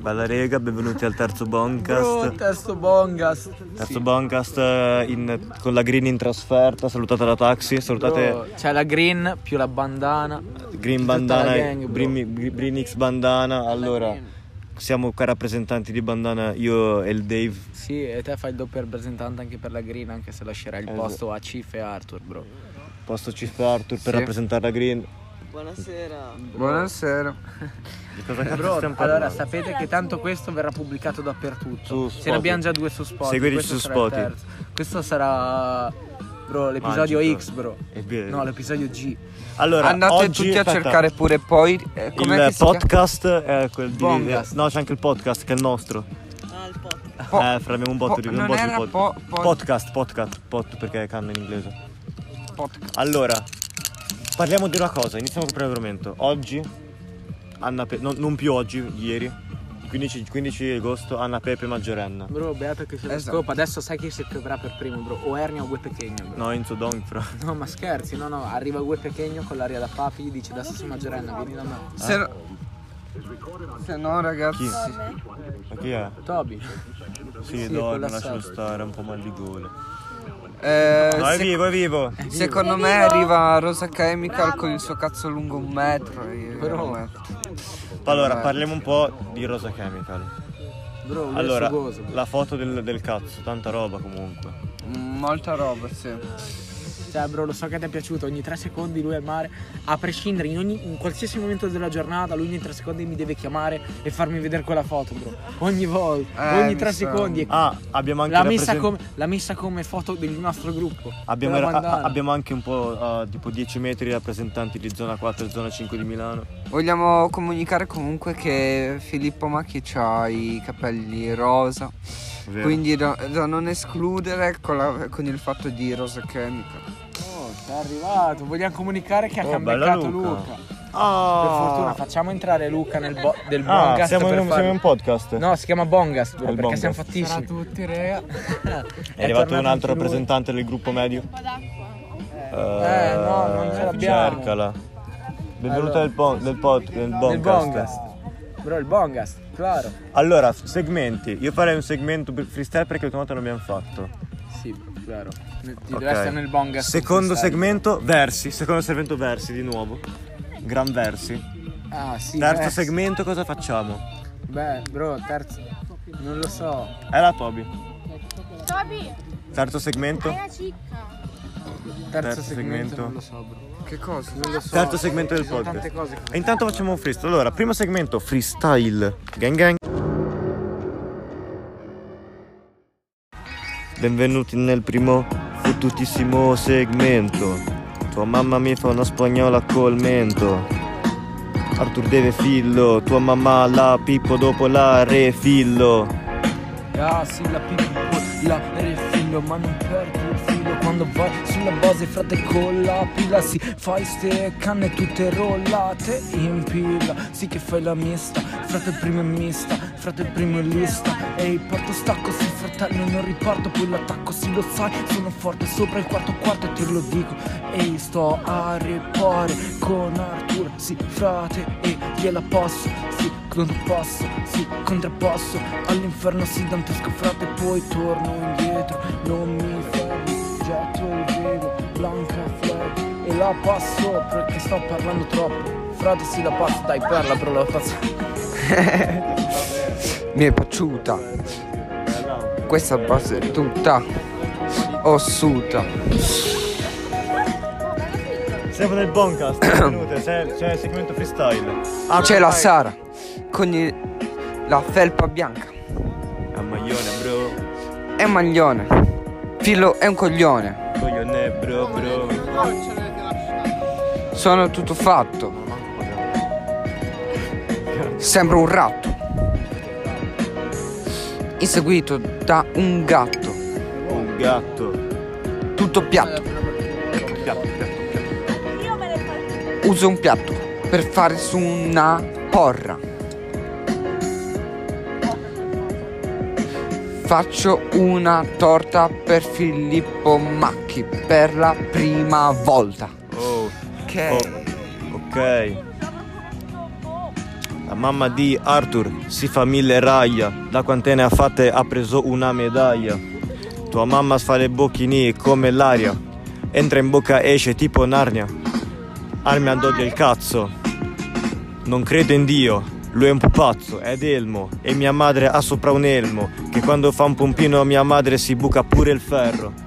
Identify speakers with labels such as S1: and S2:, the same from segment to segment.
S1: Bella rega, benvenuti al terzo Boncast.
S2: Bro, testo bongas.
S1: Terzo Boncast eh, in- con la Green in trasferta, salutate da taxi, salutate
S2: Bro, C'è la green più la bandana.
S1: Green
S2: tutta
S1: Bandana,
S2: la gang, bro.
S1: Green, Green X Bandana. Allora, siamo qua rappresentanti di Bandana, io e il Dave.
S2: Sì, e te fai il doppio rappresentante anche per la green, anche se lascerai il
S1: Esatto.
S2: posto a Cif e Arthur, bro.
S1: Posto ci sta Arthur per
S2: Sì.
S1: rappresentare la Green.
S3: Buonasera.
S2: Buonasera.
S1: Di cosa cazzo
S2: Bro,
S1: stiamo
S2: allora
S1: parlando?
S2: sapete che tanto questo verrà pubblicato dappertutto.
S1: Su
S2: Se
S1: Spotify.
S2: ne abbiamo già due su Spotify.
S1: Seguiteci
S2: questo
S1: su
S2: sarà il
S1: Spotify.
S2: terzo. Questo sarà bro, l'episodio
S1: Magico.
S2: X, bro.
S1: È vero.
S2: No, l'episodio G.
S1: Allora,
S4: Andate
S1: oggi-
S4: tutti a
S1: aspetta,
S4: cercare pure poi. eh, com'è che
S1: il
S4: si
S1: podcast è quel di
S2: Boncast.
S1: No, c'è anche il podcast che è il nostro.
S3: Ah, il podcast.
S4: chiama? Po-
S1: eh, fra abbiamo un botto
S4: po-
S1: di un
S4: non
S1: botto di
S4: era
S1: pod-
S4: po- pod-
S1: podcast, podcast, pot perché è canna in inglese.
S4: podcast.
S1: Allora, parliamo di una cosa, iniziamo proprio l'argomento. Oggi Anna Pe- no, non più oggi, ieri. 15, 15 agosto Anna Pepe maggiorenna.
S2: Bro, beato che se lo
S4: Esatto.
S2: scopa. Adesso sai chi si troverà per primo, bro. O Ernia o Gue Pechegno, bro.
S1: No, Enzo Dong fra.
S2: No, ma scherzi, no, no, arriva Gue Pechegno con l'aria da papi, gli dice adesso sei maggiorenna, vieni da me.
S4: Se, se no, ragazzi.
S1: Ah. Chi? Ma chi è?
S2: Toby.
S1: Sì,
S2: Sì,
S1: no,
S2: con la
S1: non lascialo
S2: Sarri.
S1: stare, è un po' mal di gola.
S4: eh,
S1: No, è
S4: se-
S1: vivo, è vivo.
S4: secondo me arriva Rosa Chemical con il suo cazzo lungo un metro. io-
S2: Però-
S4: eh.
S1: Allora, parliamo un po' di Rosa Chemical.
S2: Bro, lui è
S1: Allora,
S2: sugoso. bro.
S1: la foto del, del cazzo, tanta roba comunque.
S4: Mm, Molta roba, sì.
S2: Cioè, bro, lo so che ti è piaciuto, ogni tre secondi lui è al mare, a prescindere, in, ogni- in qualsiasi momento della giornata, lui ogni tre secondi mi deve chiamare e farmi vedere quella foto, bro. Ogni volta,
S4: Eh,
S2: ogni
S4: mi
S2: tre
S4: sa-
S2: secondi. E
S1: Ah, abbiamo anche
S2: L'ha messa,
S1: rappresent-
S2: come, l'ha messa come foto del nostro gruppo.
S1: Abbiamo,
S2: della
S1: a-
S2: bandana.
S1: abbiamo anche un po' eh, tipo 10 metri rappresentanti di zona 4 e zona 5 di Milano.
S4: Vogliamo comunicare comunque che Filippo Macchi ha i capelli rosa.
S1: Vero.
S4: Quindi da, da non escludere con, la- con il fatto di Rosa Chemical.
S2: Oh, è arrivato, vogliamo comunicare che ha
S1: Oh,
S2: cambiato
S1: bello Luca.
S2: Luca. Per fortuna facciamo entrare Luca nel bo- del
S1: Ah,
S2: Bongast
S1: siamo,
S2: per
S1: in,
S2: farlo-
S1: siamo in podcast.
S2: No, si chiama Bongast, bro,
S1: È il
S2: perché
S1: Bongast.
S2: siamo fattissimi. tutti, rea.
S1: è arrivato un altro rappresentante del gruppo medio.
S2: Eh, no, non ce l'abbiamo.
S1: Cercala. Benvenuto
S2: Allora.
S1: nel pon- del pod- del
S2: Del
S1: podcast.
S2: Bongast. Bro, il Bongast, claro.
S1: Allora, f- segmenti. Io farei un segmento per- freestyle perché l'ultima volta non abbiamo fatto.
S2: Sì, bro, claro. Ti
S1: Ok.
S2: deve essere nel Bongast.
S1: Secondo
S2: freestyle.
S1: segmento, versi. Secondo segmento, versi di nuovo. Gran versi.
S2: Ah, sì.
S1: Terzo
S2: beh,
S1: segmento, cosa facciamo?
S2: Beh, bro, terzo. Non lo so.
S1: È la Toby.
S5: Toby,
S1: Terzo segmento.
S5: hai la cicca.
S2: Terzo,
S1: Terzo
S2: segmento,
S1: segmento.
S2: Non lo so, bro.
S4: Che cosa?
S2: Non lo so.
S1: Terzo segmento del
S2: Ci sono
S1: podcast.
S2: Tante cose che
S1: E intanto facciamo un freestyle. Allora, primo segmento, freestyle. Gang gang. Benvenuti nel primo fottutissimo segmento. Tua mamma mi fa una spagnola col mento. Arthur deve fillo, tua mamma la pippo dopo la refillo.
S2: Ah sì, la pippo, la refillo, ma non perdi il filo Quando vai sulla base, frate, con la pila Sì, fai ste canne tutte rollate in pila Sì che fai la mista, frate primo è mista, frate primo in lista Ehi, porto stacco, sì fratello, non riparto, poi l'attacco Sì, lo sai, sono forte, sopra il quarto quarto e te lo dico Ehi, sto a ripare con Arthur, sì frate, e gliela passo, sì Contrappasso, sì, contrappasso All'inferno sì, dantesco frate Poi torno indietro Non mi fermo, getto il velo Blanca flag E la passo perché sto parlando troppo Frate sì, la passo, dai parla bro, la passo
S4: Mi è piaciuta. Questa base è tutta ossuta.
S1: Siamo nel Boncast, benvenute, c'è, c'è il segmento freestyle.
S4: Ah, c'è la Sara con il- la felpa bianca.
S1: A maglione bro,
S4: È un maglione. Filo è un coglione.
S1: coglione bro bro.
S4: Sono tutto fatto. Sembra un ratto. Inseguito da un gatto.
S1: Un gatto.
S4: Tutto piatto.
S5: Io me ne faccio.
S4: Uso un piatto per fare su una porra. Faccio una torta per Filippo Macchi per la prima volta.
S1: Oh.
S4: Che
S1: Oh, ok. La mamma di Arthur si fa mille raglia, da quante ne ha fatte ha preso una medaglia. Tua mamma fa le bocchini come l'aria, entra in bocca esce tipo Narnia. Armi ad odio il cazzo, non crede in Dio, lui è un pupazzo, è delmo e mia madre ha sopra un elmo, che quando fa un pompino a mia madre si buca pure il ferro.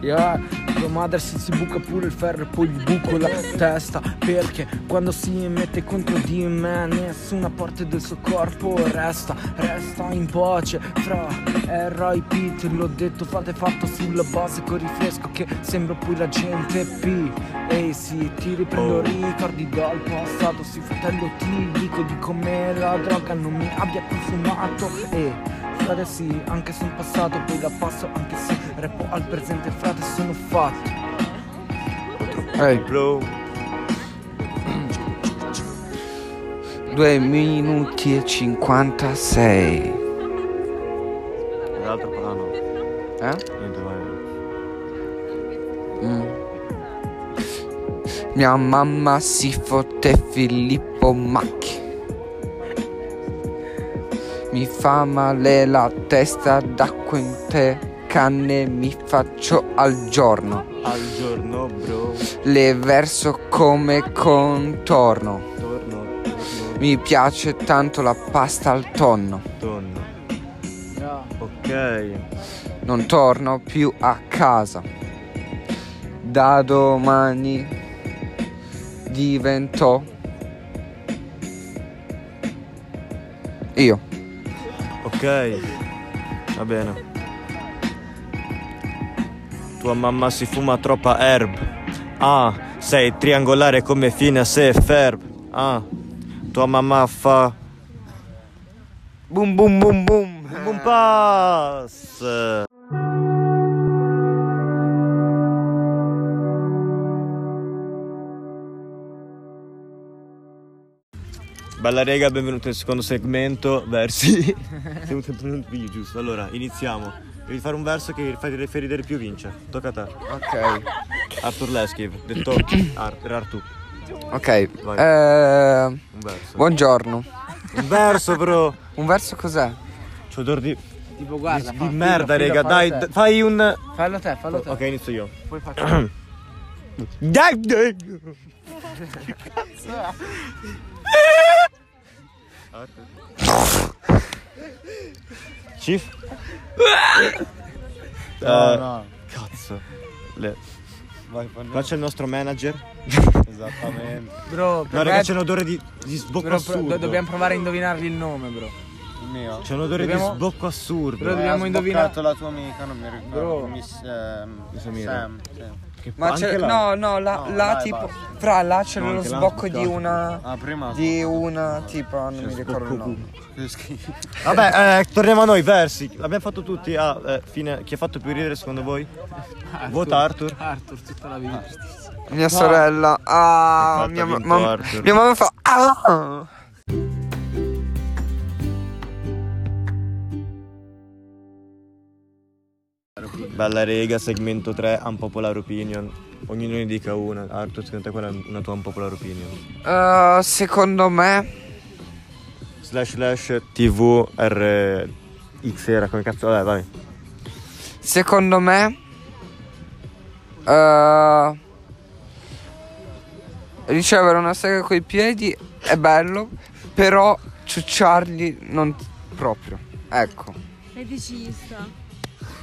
S6: Yeah, tua madre se si buca pure il ferro e poi gli buco la testa Perché quando si mette contro di me Nessuna parte del suo corpo resta Resta in pace fra R.I.P. Te l'ho detto fate fatto sulla base con rifresco Che sembra pure la gente P Ehi sì, ti
S1: Oh.
S6: riprendo ricordi dal passato Sì fratello ti dico di come la droga non mi abbia consumato E frate sì, anche se in passato poi la passo Anche se repo al presente frate sono fatto
S4: Ehi,
S1: Blow.
S4: 2 minuti e 56.
S1: L'altro ah, no,
S4: Eh?
S1: niente vai.
S4: Mm. Mia mamma si fotte Filippo Macchi. Mi fa male la testa da quante canne mi faccio al giorno.
S1: Al giorno bro,
S4: Le verso come contorno.
S1: torno, torno,
S4: Mi piace tanto la pasta al tonno.
S1: torno. Ok.
S4: Non torno più a casa. Da domani divento io.
S1: Ok, va bene. Tua mamma si fuma troppa herb. Ah, sei triangolare come fine se ferb. Ah, tua mamma fa
S4: Boom boom boom boom.
S1: un pass. Bella rega, benvenuti nel secondo segmento, versi. Siamo sempre nel video, giusto? Allora, iniziamo. Devi fare un verso che fa fa ridere più vince. Tocca a te.
S4: Ok.
S1: Arthur Leschiv, detto Ar- Arthur.
S4: Ok.
S1: Vai.
S4: eh,
S1: Un verso.
S4: buongiorno.
S1: Un verso, bro.
S4: Un verso cos'è?
S1: C'ho odore di,
S6: Tipo
S1: di,
S6: guarda,
S1: di merda, rega. Dai, d- fai un...
S6: Fallo te, fallo te.
S1: Ok, inizio io.
S6: Poi faccio.
S1: Dai, dai. Chief? Eh, Cazzo. Le- Qua c'è il nostro manager.
S7: Esattamente.
S6: Bro,
S1: No,
S6: per me-
S1: raga, c'è un odore di, di sbocco
S6: bro, pro-
S1: assurdo.
S6: do- dobbiamo provare a indovinargli il nome, bro.
S7: Il mio.
S1: C'è un odore
S6: dobbiamo-
S1: di sbocco assurdo.
S6: Bro, dobbiamo
S7: Eh, ha
S6: Cioè, indovinare-
S7: sboccato la tua amica, non mi ricordo.
S6: Bro.
S7: Miss ehm,
S1: Samira.
S7: Sam, sì.
S1: Che-
S4: Ma
S1: anche
S4: c'è
S1: là.
S4: no, no, la,
S7: No,
S4: la
S7: dai,
S4: tipo
S7: basta.
S4: fra là c'è
S1: No,
S4: lo
S1: anche là,
S4: sbocco di
S1: sboccato.
S4: una
S7: Ah, prima
S4: di una tipo non mi ricordo il
S1: sbocco
S4: nome.
S7: Che schifo.
S1: Vabbè, eh, torniamo a noi, versi. L'abbiamo fatto tutti. Ah, eh, fine- Chi ha fatto più ridere secondo voi? Vota Arthur.
S6: Arthur, tutta la vita.
S4: Mia sorella. Ah,
S1: Infatti
S4: mia,
S1: ha vinto
S4: mamma
S1: Arthur.
S4: mia mamma fa. Ah!
S1: Bella rega, segmento 3, unpopular opinion. Ognuno ne dica una. Arthur, secondo te qual è una tua unpopular opinion?
S4: Eh, secondo me.
S1: Slash slash tvrx era, come cazzo? Vabbè, vai.
S4: Secondo me. eh, ricevere una sega coi piedi è bello. Però ciucciarli non proprio. Ecco.
S5: Feticista.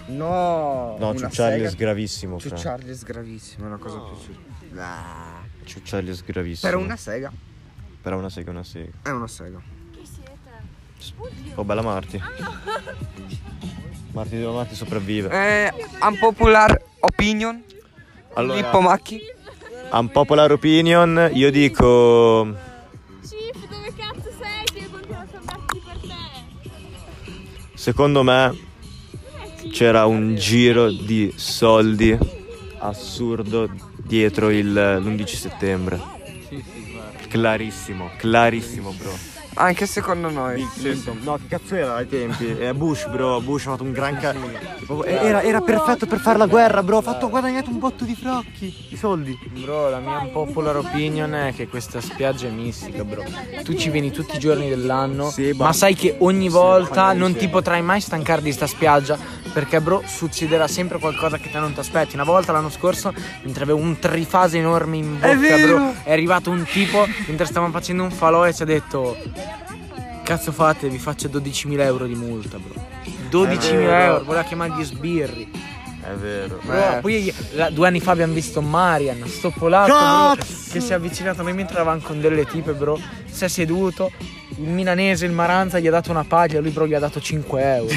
S4: No.
S1: No, ciucciarli è sgravissimo. fra.
S4: Ciucciarli è sgravissimo, è una cosa più. Ah,
S1: Ciucciarli è sgravissimo.
S4: per una sega
S1: Per una sega, una sega.
S4: è una sega.
S5: Chi siete?
S1: Oh, bella Marti. Marti, devo Marti sopravvive.
S4: Eh, unpopular opinion.
S1: Allora-
S4: Lippo Macchi.
S1: Unpopular opinion, io dico...
S5: Cif, dove cazzo sei? Che io continuo a salvarti per te.
S1: Secondo me c'era un giro di soldi assurdo dietro il- l'11 settembre. Clarissimo, clarissimo, bro.
S4: Anche secondo noi.
S1: Bill Clinton. No, che cazzo era ai tempi? Eh, Bush, bro. Bush ha fatto un gran cazzo. Era, era perfetto per fare la guerra, bro. Ha fatto guadagnare un botto di frocchi. Di soldi.
S2: Bro, la mia popular opinion è che questa spiaggia è mistica, bro. Tu ci vieni tutti i giorni dell'anno,
S1: Sì, ma-
S2: ma sai che ogni volta non ti potrai mai stancare di sta spiaggia, perché bro, succederà sempre qualcosa che te non ti aspetti. Una volta l'anno scorso, mentre avevo un trifase enorme in bocca, bro, è arrivato un tipo mentre stavamo facendo un falò e ci ha detto Cazzo fate, vi faccio 12.000 euro di multa, bro. 12.000 euro, voleva chiamare gli sbirri.
S1: È vero.
S2: Bro,
S4: Eh.
S2: poi la- due anni fa abbiamo visto Marian, sto polacco bro,
S1: Cazzo!
S2: che si è avvicinato a me mentre eravamo con delle tipe, bro. Si è seduto, il milanese, il Maranza, gli ha dato una paglia, lui bro gli ha dato 5 euro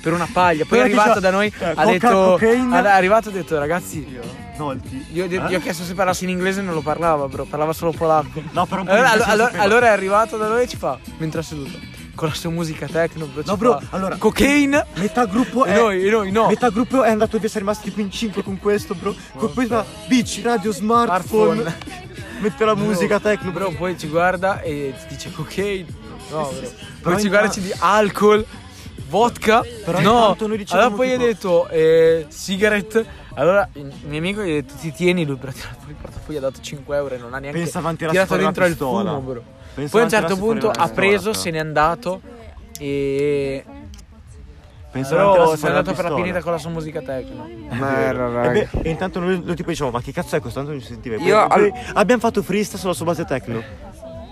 S2: per una paglia. Poi
S1: Però
S2: è
S1: ti
S2: arrivato
S1: sa-
S2: da noi,
S1: eh,
S2: ha
S1: coca,
S2: detto,
S1: cocaina.
S2: ha- è arrivato e ha detto ragazzi,
S1: Volti.
S2: io, io- gli ho chiesto se parlasse in inglese e non lo parlava, bro, parlava solo polacco.
S1: No, però un po'
S2: Allora,
S1: di inglese
S2: allora-
S1: sapeva.
S2: allora è arrivato da noi e ci fa, mentre è seduto, con la sua musica techno, bro,
S1: No,
S2: ci
S1: bro,
S2: fa,
S1: allora-
S2: cocaine,
S1: Metà gruppo
S2: E
S1: è.
S2: noi- e noi no.
S1: Metà gruppo è andato via, siamo rimasti tipo in 5 con questo, bro. Con poi fa beach, radio, smartphone. Mette la musica techno, bro.
S2: Bro, poi ci guarda e ti dice cocaine. No, bro.
S1: Però
S2: Poi ci
S1: in-
S2: guarda e ci di alcol, vodka.
S1: Però
S2: no.
S1: intanto noi diciamo dicevamo
S2: Allora poi gli ho
S1: tipo-
S2: detto eh, sigarette. Allora il mio amico gli ha detto ti tieni lui, però ha tirato fuori il portafoglio ha dato 5 euro e non ha neanche
S1: Pensa avanti la
S2: tirato
S1: storia della
S2: dentro il
S1: pistola.
S2: fumo, bro.
S1: Pensa
S2: poi a un
S1: avanti la
S2: certo punto
S1: storia
S2: ha
S1: della pistola,
S2: preso,
S1: però.
S2: se n'è andato e
S1: Pensa avanti alla
S2: però se n'è
S1: storia della
S2: andato per la
S1: pistola.
S2: pineta con la sua musica techno.
S4: Mera,
S1: E,
S4: Eh, raga.
S1: Eh beh, e intanto noi noi tipo diciamo ma che cazzo è questo? Tanto non ci sentiva. Poi-
S4: Io-
S1: poi Abbiamo fatto freestyle solo su base techno.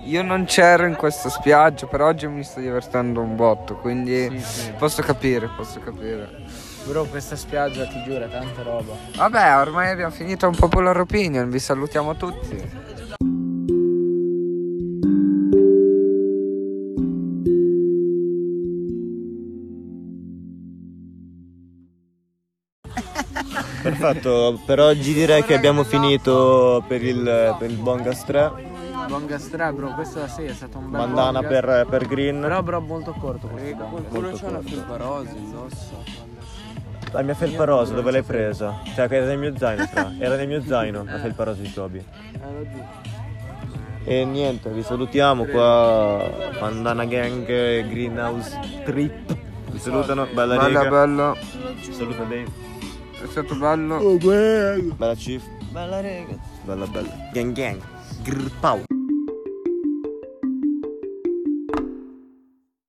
S4: Io non c'ero in questa spiaggia, però oggi mi sto divertendo un botto, quindi posso capire, posso capire.
S2: Bro, questa spiaggia ti giuro è tanta roba.
S4: Vabbè, ormai abbiamo finito un popular opinion, vi salutiamo tutti.
S1: Perfetto, per oggi direi che abbiamo finito per il, per il Bongas 3.
S2: Buon gastra, bro, questa sì è stata un bel
S1: Bandana
S2: podcast.
S1: per, per Green.
S2: Però, bro, molto corto questo. qua.
S1: Molto corto.
S8: Barrosi, indossa.
S1: La mia felpa rosa dove l'hai presa? Cioè che era nel mio zaino fra. Era nel mio zaino la felpa rosa di Toby. E niente, vi salutiamo qua. Bandana Gang e Greenhouse Trip. Vi salutano, bella
S4: Bella,
S1: rega.
S4: bello,
S1: Saluta Dave.
S4: è stato bello.
S1: Bella Chief.
S3: Bella rega.
S1: Bella bella. Gang gang. Grr, pow.